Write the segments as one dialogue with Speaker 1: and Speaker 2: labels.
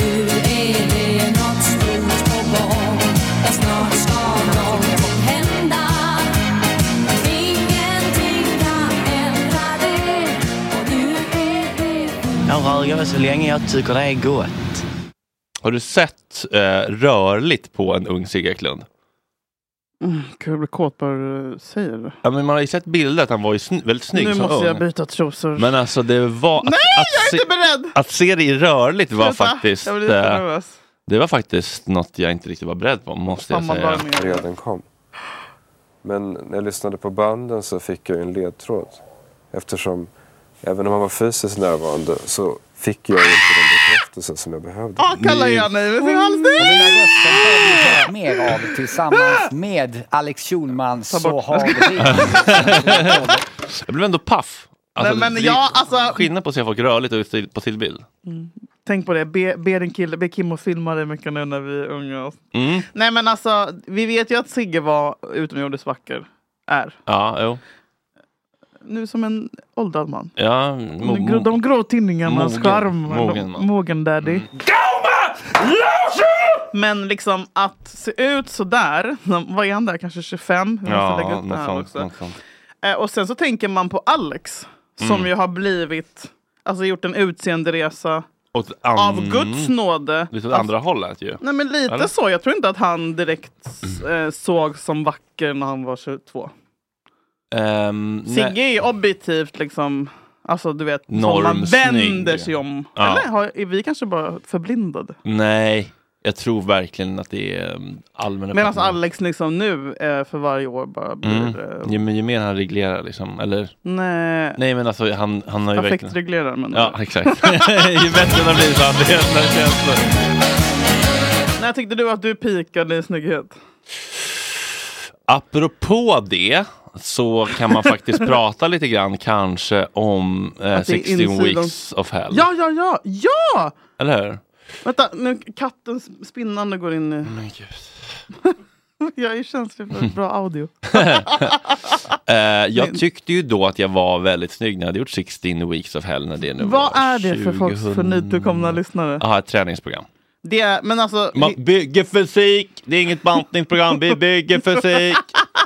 Speaker 1: Nu är det nåt stort på gång och snart ska någonting hända. Ingenting kan ändra det och nu är det
Speaker 2: Jag röker väl så länge jag tycker det är gott.
Speaker 3: Har du sett eh, rörligt på en ung Sigge Eklund?
Speaker 4: Mm, kan jag bli kåt bara du säger det?
Speaker 3: Ja, men man har ju sett bilder att han var ju sn- väldigt snygg
Speaker 4: Nu
Speaker 3: som
Speaker 4: måste
Speaker 3: ung.
Speaker 4: jag byta trosor.
Speaker 3: Men alltså det var...
Speaker 4: Nej, jag är
Speaker 3: se,
Speaker 4: inte beredd!
Speaker 3: att se det i rörligt var
Speaker 4: Sluta.
Speaker 3: faktiskt...
Speaker 4: Jag blir lite
Speaker 3: eh,
Speaker 4: nervös.
Speaker 3: det var faktiskt något jag inte riktigt var beredd på, måste jag
Speaker 4: Fan, man
Speaker 3: säga.
Speaker 4: bara med.
Speaker 5: redan kom. Men när jag lyssnade på banden så fick jag ju en ledtråd. Eftersom även om han var fysiskt närvarande så fick jag ju inte den bekräftelse som jag behövde.
Speaker 4: Ah, kallar jag mig med sin hals.
Speaker 2: Och den här rösten har vi hört mer av tillsammans med Alex Schulman så har vi
Speaker 3: Jag blev ändå paff. Alltså,
Speaker 4: Nej, men
Speaker 3: det är
Speaker 4: jag- alltså-
Speaker 3: Skillnad på att se folk rörligt och still- på stillbild.
Speaker 4: Tänk på det, be, be, din kille, be Kim att filma dig mycket nu när vi är unga. Och...
Speaker 3: Mm.
Speaker 4: Nej men alltså, vi vet ju att Sigge var utomjordiskt vacker. Är.
Speaker 3: Ja, jo.
Speaker 4: Nu som en åldrad man.
Speaker 3: Ja, mo-
Speaker 4: De grå,
Speaker 3: mo-
Speaker 4: de grå tinningarnas
Speaker 3: mogen-
Speaker 4: charm.
Speaker 3: mogen Mm. man.
Speaker 4: Mogen, mogen daddy. Men liksom att se ut sådär. Vad är han där? Kanske 25? Vi måste lägga
Speaker 3: ja,
Speaker 4: upp det
Speaker 3: något
Speaker 4: här
Speaker 3: sånt,
Speaker 4: också.
Speaker 3: något Mm. sånt.
Speaker 4: Eh, och sen så tänker man på Alex. Som ju har blivit, alltså gjort en utseenderesa
Speaker 3: Åt an-
Speaker 4: av Guds nåde.
Speaker 3: Mm.
Speaker 4: Alltså,
Speaker 3: Lite åt andra hållet ju.
Speaker 4: Nej men lite
Speaker 3: Eller? Mm.
Speaker 4: så. Jag tror inte att han direkt eh, såg som vacker när han var 22.
Speaker 3: Ehm, nej.
Speaker 4: Sigge är ju objektivt liksom, alltså du vet, som man
Speaker 3: Normsnygg.
Speaker 4: vänder sig om.
Speaker 3: Ja.
Speaker 4: Eller har, är vi kanske bara förblindade?
Speaker 3: Nej, jag tror verkligen att det är um, allmän
Speaker 4: Medan
Speaker 3: uppfattning.
Speaker 4: Alex liksom nu eh, för varje år bara blir...
Speaker 3: Mm.
Speaker 4: Eh,
Speaker 3: Ju, men ju mer han reglerar liksom, eller?
Speaker 4: nej,
Speaker 3: Nej men alltså han, han har ju verkligen...
Speaker 4: affektreglerar men...
Speaker 3: Ja, exakt. ju bättre det blir så att det är öppna känslor.
Speaker 4: När tyckte du att du peakade i snygghet?
Speaker 3: Apropå det så kan man faktiskt prata lite grann kanske om eh,
Speaker 4: Att det är
Speaker 3: 16
Speaker 4: insidan.
Speaker 3: weeks of hell.
Speaker 4: Ja, ja, ja, ja!
Speaker 3: Eller hur?
Speaker 4: Vänta, nu katten spinnande går in i...
Speaker 3: Men gud.
Speaker 4: Jag är känslig för bra audio.
Speaker 3: Eh, jag tyckte ju då att jag var väldigt snygg när jag hade gjort 16 weeks of hell när det nu var
Speaker 4: Vad är det för folk för
Speaker 3: 2000?
Speaker 4: nytillkomna lyssnare?
Speaker 3: Ja, ett träningsprogram.
Speaker 4: Det är, men alltså...
Speaker 3: Man bygger fysik, det är inget bantningsprogram, vi bygger fysik.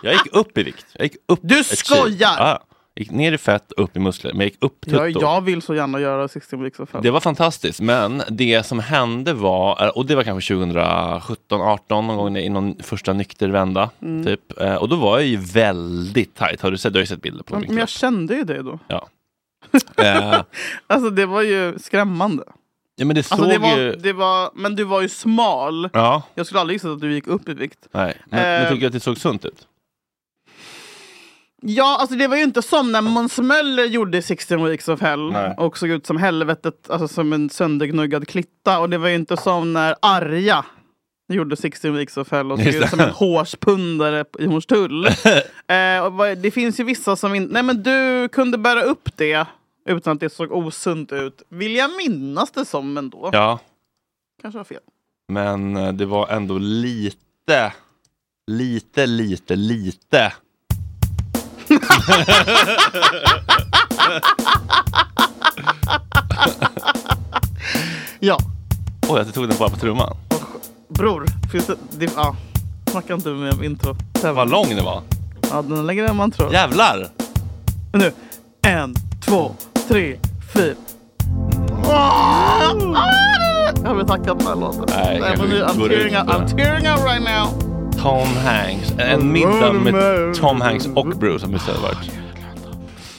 Speaker 3: Jag gick upp i vikt. Jag gick upp
Speaker 4: Du
Speaker 3: ett kilo.
Speaker 4: skojar!
Speaker 3: Ja, gick ner i fett, upp i muskler, men jag gick upp tutto.
Speaker 4: jag, jag vill så gärna göra 16 weeks of
Speaker 3: Det var fantastiskt, men det som hände var, eh, och det var kanske 2017, 18 någon gång i någon första nykter vända,
Speaker 4: Mm.
Speaker 3: typ. Eh, Och då var jag ju väldigt tight. Har du sett, du har ju sett bilder på min
Speaker 4: Men jag kände ju dig då.
Speaker 3: Ja. Eh,
Speaker 4: Alltså det var ju skrämmande.
Speaker 3: ja, men det såg
Speaker 4: Alltså, det var,
Speaker 3: ju...
Speaker 4: det var, men du var ju smal.
Speaker 3: Ja,
Speaker 4: Jag skulle aldrig gissa att du gick upp i vikt.
Speaker 3: nej. Men, men
Speaker 4: Eh.
Speaker 3: tycker du att det såg sunt ut?
Speaker 4: Ja, alltså det var ju inte som när Måns Möller gjorde 16 weeks of hell
Speaker 3: Nej.
Speaker 4: och såg ut som helvetet, alltså som en söndergnuggad klitta. Och det var ju inte som när Arja gjorde 16 weeks of hell och såg
Speaker 3: Just
Speaker 4: ut
Speaker 3: det.
Speaker 4: som en hårspundare i Hornstull. eh, och vad- det finns ju vissa som inte... Nej men du kunde bära upp det utan att det såg osunt ut. Vill jag minnas det som ändå.
Speaker 3: Ja,
Speaker 4: Kanske har fel.
Speaker 3: Men eh, det var ändå lite, lite, lite, lite.
Speaker 4: Ja,
Speaker 3: Oj, jag tog den bara på trumman.
Speaker 4: bror. Finns det, det, ja. Snacka inte med mig om intro.
Speaker 3: Vad lång den var.
Speaker 4: Ja, den är längre än man tror.
Speaker 3: Jävlar!
Speaker 4: Men Nu. En, två, tre, fyra. Åh, aldrig tackat den här låten.
Speaker 3: Ah! Nej,
Speaker 4: Nej,
Speaker 3: kanske
Speaker 4: men nu,
Speaker 3: vi
Speaker 4: I'm,
Speaker 3: går
Speaker 4: tearing
Speaker 3: ut
Speaker 4: out,
Speaker 3: på
Speaker 4: I'm
Speaker 3: det.
Speaker 4: tearing out right now.
Speaker 3: Tom Hanks. En middag med Tom Hanks och Bruce om istället varit.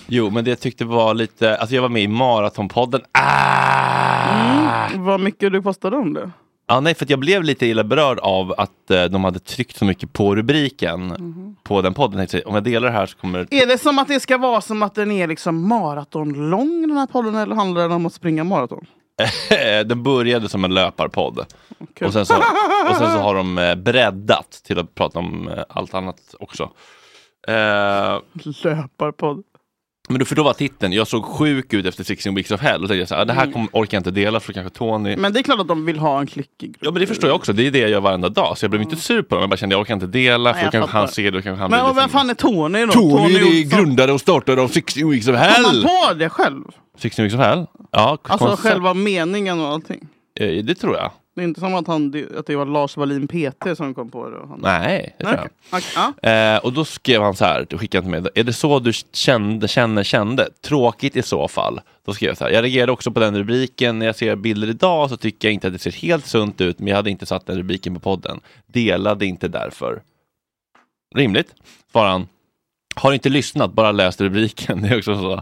Speaker 3: Jo, men det jag tyckte var lite... Alltså jag var med i Maratonpodden. Äh! Ah!
Speaker 4: Vad mycket du postade om det.
Speaker 3: Ja, nej, för att jag blev lite illa berörd av att eh, de hade tryckt så mycket på rubriken på den podden. Jag tänkte, om jag delar det här så kommer det...
Speaker 4: Är det som att det ska vara som att den är liksom maratonlång den här podden eller handlar den om att springa maraton?
Speaker 3: den började som en löparpodd.
Speaker 4: Kul.
Speaker 3: Och sen, så, och sen så har de eh, breddat till att prata om eh, allt annat också. Eh,
Speaker 4: Löparpodd.
Speaker 3: men då, för då var titeln, jag såg sjuk ut efter 16 weeks of hell. Och tänkte jag så här, "Ah, det här kom, orkar jag inte dela för kanske Tony...
Speaker 4: Mm. Men det är klart att de vill ha en klickig grupp.
Speaker 3: Ja men det förstår jag också, det är det jag gör varenda dag. Så jag blev inte sur på dem, jag bara kände jag orkar inte dela för
Speaker 4: Nej,
Speaker 3: då
Speaker 4: Mm. jag
Speaker 3: kanske han
Speaker 4: fattar.
Speaker 3: ser det och kanske han
Speaker 4: Men
Speaker 3: blir
Speaker 4: och vem
Speaker 3: liksom-
Speaker 4: fan är Tony då?
Speaker 3: Tony, är
Speaker 4: Olsson.
Speaker 3: grundare och startare av 16 weeks of
Speaker 4: Kom
Speaker 3: hell!
Speaker 4: han på det själv?
Speaker 3: 16 weeks of hell? Ja,
Speaker 4: Alltså
Speaker 3: koncept.
Speaker 4: själva meningen och allting.
Speaker 3: Eh, Det tror jag.
Speaker 4: Det är inte som att, han, att det var Lars Wallin PT som kom på det. Och han,
Speaker 3: Nej, det tror jag.
Speaker 4: Okej. Okej, ja.
Speaker 3: Eh, och då skrev han så här, du skickade inte med, är det så du kände, känner, kände? Tråkigt i så fall. Då skrev jag så här, jag reagerade också på den rubriken, när jag ser bilder idag så tycker jag inte att det ser helt sunt ut, men jag hade inte satt den rubriken på podden. Delade inte därför. Rimligt, svarade han. Har inte lyssnat, bara läst rubriken. Det är också så.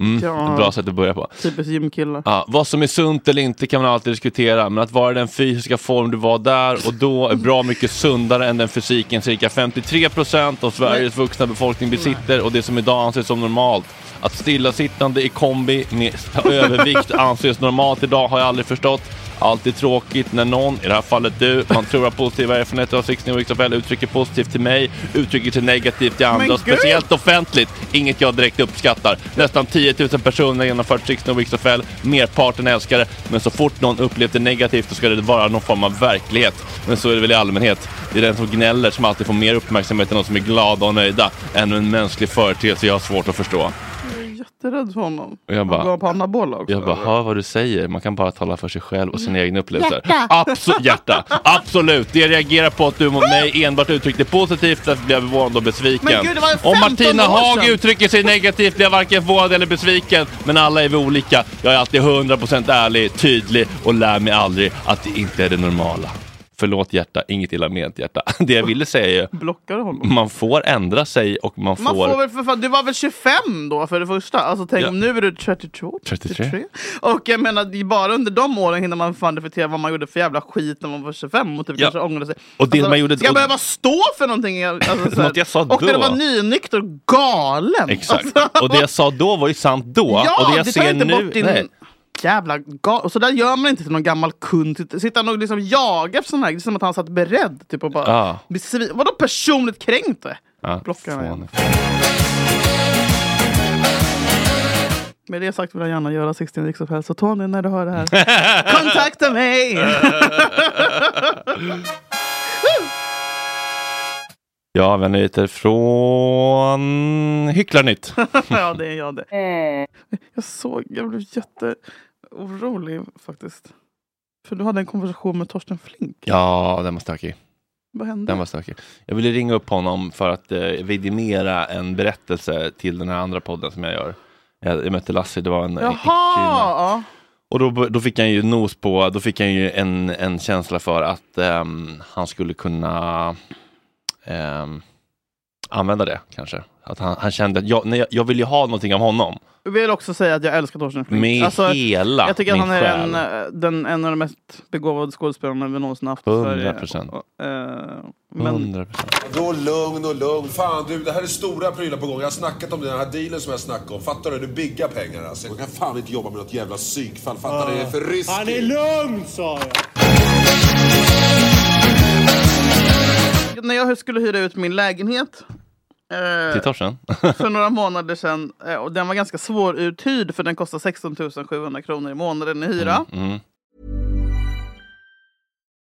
Speaker 3: Mm,
Speaker 4: Ja.
Speaker 3: Bra sätt att börja på.
Speaker 4: Typiskt gymkillar.
Speaker 3: Ja, vad som är sunt eller inte kan man alltid diskutera, men att vara i den fysiska form du var där och då är bra mycket sundare än den fysiken cirka 53 procent av Sveriges vuxna befolkning besitter och det som idag anses som normalt. Att stillasittande i kombi med övervikt anses normalt idag har jag aldrig förstått. Alltid tråkigt när någon, i det här fallet du, man tror har positiva erfarenheter av 16 Weeks of Hell, uttrycker positivt till mig, uttrycker sig negativt till andra,
Speaker 4: gud!
Speaker 3: och speciellt offentligt, inget jag direkt uppskattar. Nästan 10 000 personer har genomfört 16 Weeks of Hell, merparten älskar det, men så fort någon upplevt det negativt så ska det vara någon form av verklighet. Men så är det väl i allmänhet. Det är den som gnäller som alltid får mer uppmärksamhet än de som är glada och nöjda. Ännu en mänsklig företeelse jag har svårt att förstå.
Speaker 4: Jag är jätterädd för honom.
Speaker 3: Och jag bara-
Speaker 4: Han går på anabola också.
Speaker 3: Jag bara, hör vad du säger. Man kan bara tala för sig själv och sina egna upplevelser. Abso- hjärta! Absolut! Det jag reagerar på att du mot mig enbart uttryckte positivt, därför blev jag förvånad och besviken.
Speaker 4: Men gud, det var ju
Speaker 3: Om
Speaker 4: 15
Speaker 3: Martina
Speaker 4: år
Speaker 3: Haag
Speaker 4: sedan.
Speaker 3: uttrycker sig negativt blir jag varken förvånad eller besviken. Men alla är vi olika. Jag är alltid 100% ärlig, tydlig och lär mig aldrig att det inte är det normala. Förlåt hjärta, inget illa ment hjärta. Det jag ville säga är ju,
Speaker 4: Blockar honom.
Speaker 3: man får ändra sig och man får...
Speaker 4: Man får väl för fan, du var väl 25 då för det första? Alltså tänk
Speaker 3: Ja.
Speaker 4: om nu är du 32,
Speaker 3: 33.
Speaker 4: Och jag menar det är bara under de åren hinner man fan reflektera vad man gjorde för jävla skit när man var 25 och typ
Speaker 3: Ja.
Speaker 4: kanske ångrade sig. Alltså,
Speaker 3: Och det man gjorde
Speaker 4: ska jag
Speaker 3: då-
Speaker 4: behöva stå för någonting? Alltså, så här.
Speaker 3: Något jag sa
Speaker 4: och när
Speaker 3: då.
Speaker 4: du var nynykter och galen.
Speaker 3: Exakt.
Speaker 4: Alltså,
Speaker 3: Och det jag sa då var ju sant då.
Speaker 4: ja,
Speaker 3: och det jag
Speaker 4: du tar
Speaker 3: ser
Speaker 4: inte
Speaker 3: nu...
Speaker 4: bort din
Speaker 3: Nej.
Speaker 4: jävla gal... Och så där gör man inte till någon gammal kund. Sitt- Sitter han och liksom jagar efter sån här, det är som att han satt beredd. Typ, och bara,
Speaker 3: Ja.
Speaker 4: blir svin- Vadå personligt kränkt?
Speaker 3: Ja,
Speaker 4: Blocka mig.
Speaker 3: fan.
Speaker 4: Med det sagt vill jag gärna göra 16 Weeks of Hell. Så Tony, när du hör det här, kontakta mig!
Speaker 3: Ja, vi har nyheter från Hycklarnytt.
Speaker 4: ja, det är jag det. Jag såg, jag blev jätteorolig faktiskt. För du hade en konversation med Torsten Flink.
Speaker 3: Ja, den var stökig.
Speaker 4: Vad
Speaker 3: Den
Speaker 4: hände?
Speaker 3: var stökig. Jag ville ringa upp honom för att eh, vidimera en berättelse till den här andra podden som jag gör. Jag, jag mötte Lasse, det var en en
Speaker 4: Jaha!
Speaker 3: kvinna.
Speaker 4: Ja.
Speaker 3: Och då, då fick han ju nos på, då fick han ju en, en känsla för att ehm, han skulle kunna ehm, använda det kanske. Att han, han kände att jag, nej, jag- jag vill ju ha någonting av honom.
Speaker 4: Jag vill också säga att jag älskar Torsten Flink. Alltså,
Speaker 3: Med hela
Speaker 4: jag tycker att
Speaker 3: min
Speaker 4: han är
Speaker 3: själ.
Speaker 4: en, eh, den, en av de mest begåvade skådespelarna vi någonsin haft i
Speaker 3: 100%.
Speaker 4: Sverige. Och, eh, Men
Speaker 3: 100
Speaker 6: Då lugn och lugn. Fan du, det här är stora prylar på gång. Jag har snackat om den här dealen som jag snackade om. Fattar du? Det är bigga pengar alltså. Jag kan fan inte jobba med något jävla psykfall. Fattar du? Det är för riskigt.
Speaker 7: Han är lugn sa jag!
Speaker 4: när jag skulle hyra ut min lägenhet eh,
Speaker 3: Till Torsten?
Speaker 4: för några månader sedan. eh, Och den var ganska svåruthyrd för den kostar 16 700 kronor i månaden i hyra.
Speaker 3: Mm.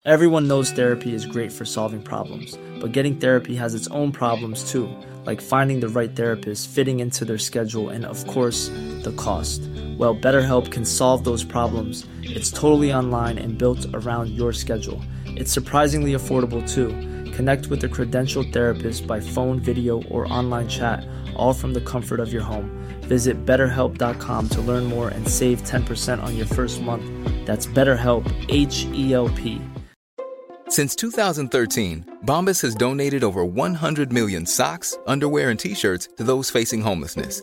Speaker 8: Everyone knows therapy is great for solving problems, but getting therapy has its own problems too, like finding the right therapist, fitting into their schedule, and of course, the cost. Well, BetterHelp can solve those problems. It's totally online and built around your schedule. It's surprisingly affordable too. Connect with a credentialed therapist by phone, video, or online chat, all from the comfort of your home. Visit betterhelp.com to learn more and save 10% on your first month. That's BetterHelp, H E L P.
Speaker 7: Since 2013, Bombas has donated over 100 million socks, underwear, and t shirts to those facing homelessness.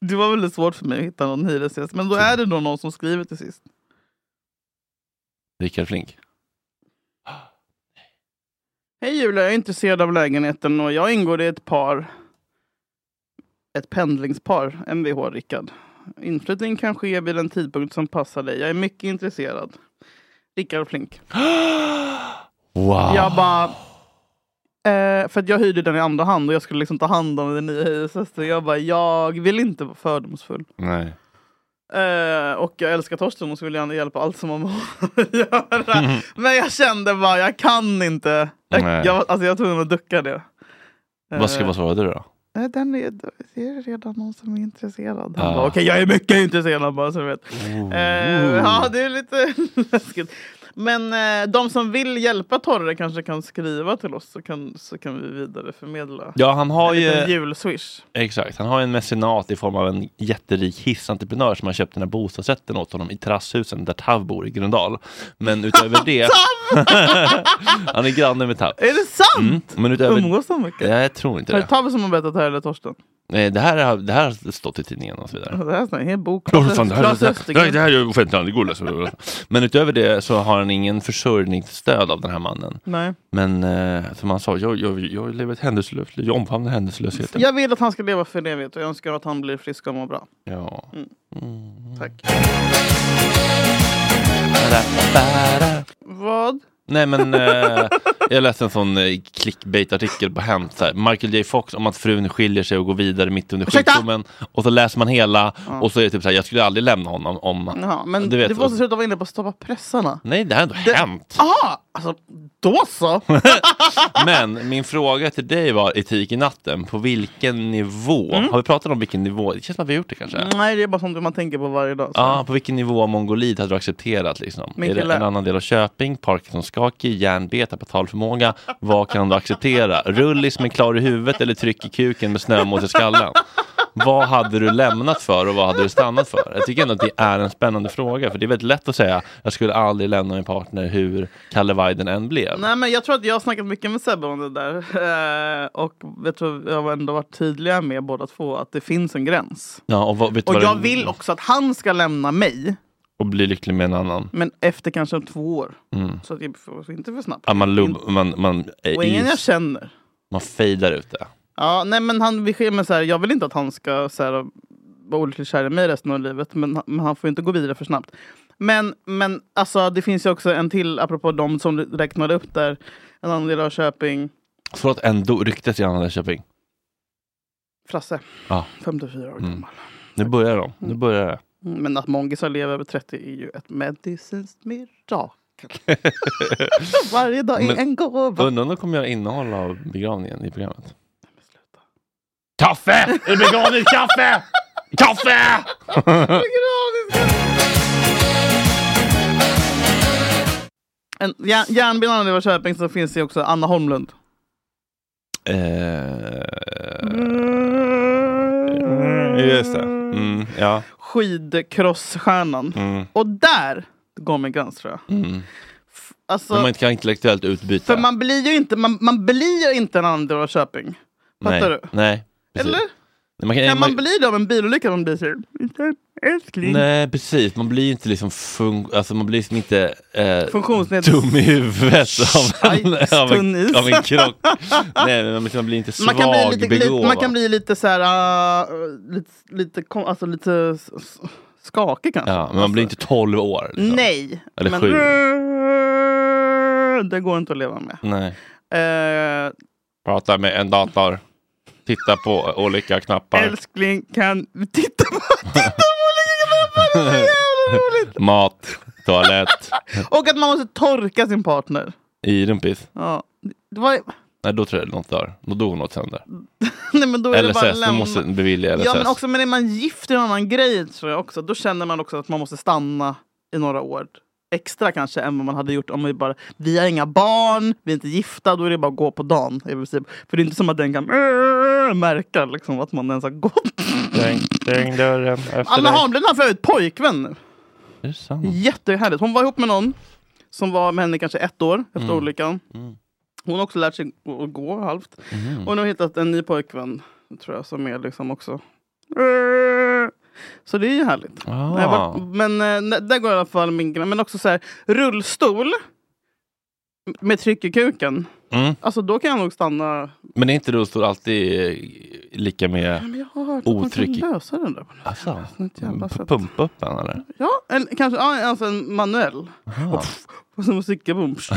Speaker 4: Det var väldigt svårt för mig att hitta någon hyresgäst. Men då är det nog någon som skriver till sist.
Speaker 3: Rickard Flink.
Speaker 4: Hej Julia, jag är intresserad av lägenheten och jag ingår i ett par. Ett pendlingspar, Mvh Rickard. Inflyttning kan ske vid en tidpunkt som passar dig. Jag är mycket intresserad. Rickard Flink.
Speaker 3: Wow.
Speaker 4: Jag bara... Eh, för att jag hyrde den i andra hand och jag skulle liksom ta hand om den nya hyresgästen. Jag bara, jag vill inte vara fördomsfull.
Speaker 3: Nej.
Speaker 4: Eh, och jag älskar Torsten och så vill jag gärna hjälpa allt som man måste göra. Men jag kände bara, jag kan inte. Jag,
Speaker 3: Nej.
Speaker 4: jag, alltså jag tror att ducka det.
Speaker 3: Vad ska vad svarade du då?
Speaker 4: Nej, den är, det är redan någon som är intresserad.
Speaker 3: Ah. Oh.
Speaker 4: Han bara, Okej, jag är mycket intresserad bara så du vet. Eh, ja, det är lite läskigt. Men eh, de som vill hjälpa Torre kanske kan skriva till oss så kan, så kan vi vidareförmedla.
Speaker 3: Ja, han har
Speaker 4: En liten
Speaker 3: ju...
Speaker 4: julswish.
Speaker 3: Exakt, han har ju en mecenat i form av en jätterik hissentreprenör som har köpt den här bostadsrätten åt honom i terrasshusen där Tav bor i Gröndal. Men utöver det... han är granne med Tav.
Speaker 4: Är det sant?
Speaker 3: Mm, men utöver...
Speaker 4: Umgås de mycket?
Speaker 3: Nej, jag tror inte
Speaker 4: Är det
Speaker 3: det.
Speaker 4: Tabbe som har berättat det här eller Torsten?
Speaker 3: Nej, det här, har- det här har stått i tidningen och så vidare.
Speaker 4: Alltså, Det här är en hel bok.
Speaker 3: Ja, för fan, det, här,
Speaker 4: Klas
Speaker 3: det, här, det, här,
Speaker 4: Östergren.
Speaker 3: det här är offentligt god läsning. Men utöver det så har han ingen försörjningsstöd av den här mannen.
Speaker 4: Nej.
Speaker 3: Men eh, som han sa, jag, jag, jag lever ett händelselöst liv. Jag omfamnar händelselösheten.
Speaker 4: Jag vill att han ska leva för evigt och jag önskar att han blir frisk och mår bra.
Speaker 3: Ja.
Speaker 4: Mm. Tack. Vad?
Speaker 3: Nej men eh, jag läste en sån eh, clickbait-artikel på Hem, så här, Michael J Fox om att frun skiljer sig och går vidare mitt under
Speaker 4: Ursäkta?
Speaker 3: sjukdomen. Och så läser man hela
Speaker 4: Ja.
Speaker 3: och så är det typ så här, jag skulle aldrig lämna honom om...
Speaker 4: Jaha, men
Speaker 3: Du
Speaker 4: du,
Speaker 3: vet,
Speaker 4: måste
Speaker 3: och-
Speaker 4: sluta vara inne på att stoppa pressarna.
Speaker 3: Nej det här har ändå hänt.
Speaker 4: Aha, alltså då så.
Speaker 3: Men min fråga till dig var etik i natten. På vilken nivå?
Speaker 4: Mm.
Speaker 3: Har vi pratat om vilken nivå? Det känns som att vi har gjort det kanske.
Speaker 4: Nej, det är bara sånt man tänker på varje dag. så.
Speaker 3: Ja, på vilken nivå mongolid hade du accepterat? Liksom?
Speaker 4: Min
Speaker 3: Är det
Speaker 4: kille.
Speaker 3: en annan del av Köping, Parkinsons skaki, hjärnbeta, betalförmåga? Vad kan du acceptera? Rullis med klar i huvudet eller tryck i kuken med snömos i skallen? Vad hade du lämnat för och vad hade du stannat för? Jag tycker ändå att det är en spännande fråga, för det är väldigt lätt att säga jag skulle aldrig lämna min partner hur Kalle Weiden än blev.
Speaker 4: Nej, men jag tror att jag har snackat mycket med Sebbe om det där. Eh, och jag tror jag har ändå varit tydliga med båda två att det finns en gräns.
Speaker 3: Ja, och vad, vet du
Speaker 4: Och
Speaker 3: vad
Speaker 4: jag
Speaker 3: det-
Speaker 4: vill också att han ska lämna mig,
Speaker 3: och bli lycklig med en annan.
Speaker 4: men efter kanske två år.
Speaker 3: Mm.
Speaker 4: Så att jag får inte för snabbt.
Speaker 3: Ja, man, lub, man, man,
Speaker 4: Och ingen jag
Speaker 3: is,
Speaker 4: känner.
Speaker 3: man fejdar ut det.
Speaker 4: Ja, nej men han, vi sker med så här, jag vill inte att han ska så här, vara olyckligt kär i mig resten av livet. Men, han- men han får inte gå vidare för snabbt. Men, men alltså, det finns ju också en till, apropå de som du räknade upp där. En annan del av Köping,
Speaker 3: Förlåt, ändå ryktet i Anna Köping.
Speaker 4: Frasse.
Speaker 3: Ja.
Speaker 4: 54 år
Speaker 3: Mm.
Speaker 4: gammal.
Speaker 3: Nu börjar de. Nu börjar det.
Speaker 4: Mm. Men att mongisar lever över 30 är ju ett medicinskt mirakel. Varje dag är
Speaker 3: Men-
Speaker 4: en gåva.
Speaker 3: Undrar om de kommer göra innehåll av begravningen i programmet. Kaffe! Är det begravning? Kaffe! Kaffe!
Speaker 4: En järn, järnbilen lever i Köping så finns det ju också Anna Holmlund.
Speaker 3: eh, just det. Mm, ja.
Speaker 4: Skidcrossstjärnan.
Speaker 3: Mm,
Speaker 4: Och där går min gräns tror jag.
Speaker 3: mm.
Speaker 4: Alltså,
Speaker 3: Men man inte kan ha intellektuellt utbyte.
Speaker 4: För man blir ju inte, man, man blir ju inte en annan del av Köping. Fattar
Speaker 3: Nej.
Speaker 4: du?
Speaker 3: Nej, precis.
Speaker 4: Eller?
Speaker 3: Nej, man kan,
Speaker 4: Kan
Speaker 3: man,
Speaker 4: man bli det av en bilolycka? Man blir så här, "Inte älskling.
Speaker 3: Nej, precis. Man blir ju inte liksom fun, alltså man blir liksom inte eh,
Speaker 4: Funktionsned-
Speaker 3: dum i huvudet av en,
Speaker 4: Aj,
Speaker 3: av
Speaker 4: tunn
Speaker 3: en,
Speaker 4: is.
Speaker 3: av en krock. Nej, men man liksom blir inte
Speaker 4: Man kan, bli lite, glit-
Speaker 3: svagbegåvad.
Speaker 4: man kan bli lite så här, uh, lite, lite, kom- alltså lite s- s- skakig kanske. Alltså,
Speaker 3: Ja, men man blir inte 12 år. Liksom.
Speaker 4: Nej.
Speaker 3: Eller
Speaker 4: men,
Speaker 3: sju.
Speaker 4: Det går inte att leva med.
Speaker 3: Nej.
Speaker 4: Eh,
Speaker 3: Prata med en dator. Titta på olika knappar.
Speaker 4: älskling, kan du titta på... Titta på olika mammor, det är jävla roligt!
Speaker 3: Mat, toalett,
Speaker 4: Och att man måste torka sin partner.
Speaker 3: i rumpis.
Speaker 4: Ja. Det var,
Speaker 3: Nej, då tror jag något dör. Då dog något sönder.
Speaker 4: nej, men då är det bara
Speaker 3: LSS,
Speaker 4: lämna.
Speaker 3: du måste bevilja LSS.
Speaker 4: Ja, men också men är man gift i en annan grej tror jag också. Då känner man också att man måste stanna i några år. Extra kanske än vad man hade gjort om vi bara, vi har inga barn, vi är inte gifta, då är det bara att gå på dagen. i princip. För det är inte som att den kan "Åh", märka liksom, att man ens har gått.
Speaker 3: Stäng, stäng dörren efter
Speaker 4: Anna
Speaker 3: dig.
Speaker 4: Hamlin har för övrigt pojkvän nu.
Speaker 3: Är det sant?
Speaker 4: Jättehärligt. Hon var ihop med någon som var med henne kanske ett år efter
Speaker 3: Mm.
Speaker 4: olyckan.
Speaker 3: Mm.
Speaker 4: Hon har också lärt sig att gå halvt.
Speaker 3: Mhm.
Speaker 4: Och nu har hittat en ny pojkvän, tror jag, som är liksom också... Så det är ju härligt.
Speaker 3: Ah.
Speaker 4: Jag har varit- Men eh, där går i alla fall min grej. Men också så här, rullstol med tryck i kuken.
Speaker 3: Mm.
Speaker 4: Alltså då kan jag nog stanna.
Speaker 3: Men är inte rullstol alltid eh, lika med
Speaker 4: Men jag har hört att man kan
Speaker 3: otryck? i-
Speaker 4: lösa den där. på något sätt.
Speaker 3: Alltså,
Speaker 4: Något jävla sätt.
Speaker 3: pumpa upp den eller?
Speaker 4: Ja, en, kanske ja, alltså en manuell.
Speaker 3: Aha.
Speaker 4: Och sen musikabom. ja,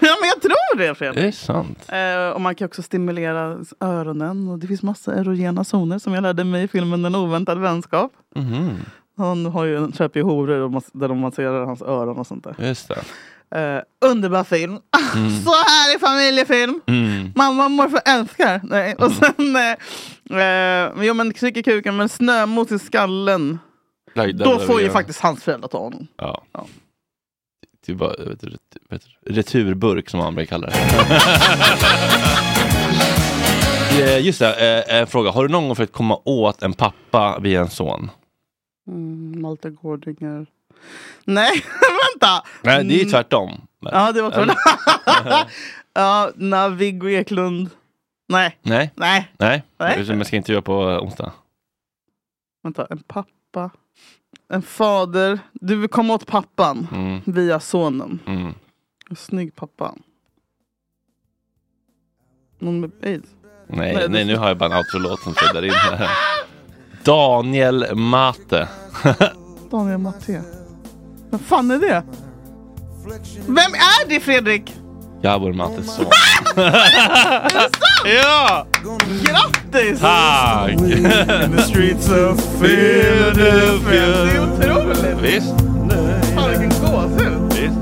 Speaker 4: men jag tror det Fredrik.
Speaker 3: Det är sant.
Speaker 4: Eh, och man kan också stimulera öronen. Och det finns massa erogena zoner som jag lärde mig i filmen En oväntad vänskap.
Speaker 3: Mhm.
Speaker 4: Han har ju en köper ju horor och mas- där de masserar hans öron och sånt där.
Speaker 3: Just det.
Speaker 4: Eh, underbar film.
Speaker 3: Mm.
Speaker 4: Så här i familjefilm.
Speaker 3: Mm.
Speaker 4: Mamma och morfar älskar. Nej. Och sen, eh, eh, jo men tryck i kuken men snömos i skallen.
Speaker 3: Där- där
Speaker 4: Då
Speaker 3: behöver
Speaker 4: får ju
Speaker 3: jag-
Speaker 4: faktiskt hans föräldrar ta honom.
Speaker 3: Ja.
Speaker 4: Ja.
Speaker 3: Typ bara, vet du, ret- vet du, returburk som man brukar kalla det. Eh, Just det, eh, en fråga. Har du någon gång försökt komma åt en pappa via en son?
Speaker 4: Mm, Malte Gårdinger. Nej, vänta!
Speaker 3: Nej, det är ju
Speaker 4: Mm.
Speaker 3: tvärtom.
Speaker 4: Ja, det var kul. ja, na, Viggo Eklund. Nej,
Speaker 3: Nej.
Speaker 4: nej.
Speaker 3: Nej.
Speaker 4: Nej.
Speaker 3: Nej. Jag ska inte göra på eh, onsdag.
Speaker 4: Vänta, en pappa. En fader. Du vill komma åt pappan
Speaker 3: Mm.
Speaker 4: via sonen.
Speaker 3: Mm.
Speaker 4: En snygg pappa. Någon med aids.
Speaker 3: Nej,
Speaker 4: Nej,
Speaker 3: nej,
Speaker 4: det-
Speaker 3: nu har jag bara en outro-låt som flödar in här. Daniel Mate.
Speaker 4: Daniel Matté. Vem fan är det? Vem är det Fredrik?
Speaker 3: Gabor Mates son.
Speaker 4: är det sant?
Speaker 3: Ja!
Speaker 4: Grattis!
Speaker 3: Tack!
Speaker 4: streets of
Speaker 3: Philadelphia.
Speaker 4: Det är otroligt!
Speaker 3: Visst.
Speaker 4: Fan vilken gåshud!
Speaker 3: Visst.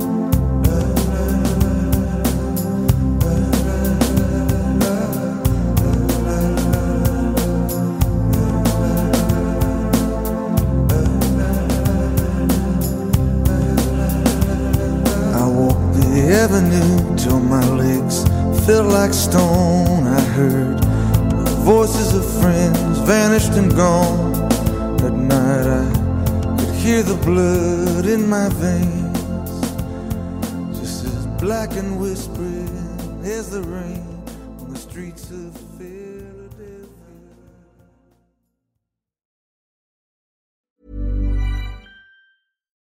Speaker 9: I walk the avenue till my legs feel like stone. I heard the voices of friends vanished and gone. At night I could hear the blood in my veins, just as black and whispering as the rain on the streets of Philadelphia.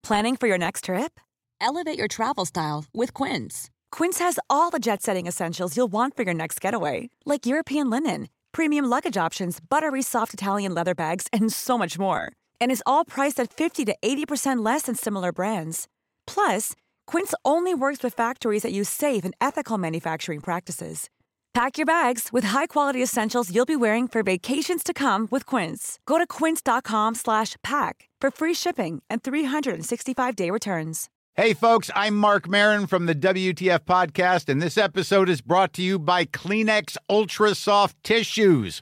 Speaker 10: Planning for your next trip? Elevate your travel style with Quince. Quince has all the jet setting essentials you'll want for your next getaway, like European linen, premium luggage options, buttery soft Italian leather bags, and so much more. And is all priced at 50 to 80% less than similar brands. Plus, Quince only works with factories that use safe and ethical manufacturing practices. Pack your bags with high-quality essentials you'll be wearing for vacations to come with Quince. Go to quince.com slash pack for free shipping and 365-day returns.
Speaker 11: Hey, folks, I'm Mark Marin from the WTF Podcast, and this episode is brought to you by Kleenex Ultra Soft Tissues,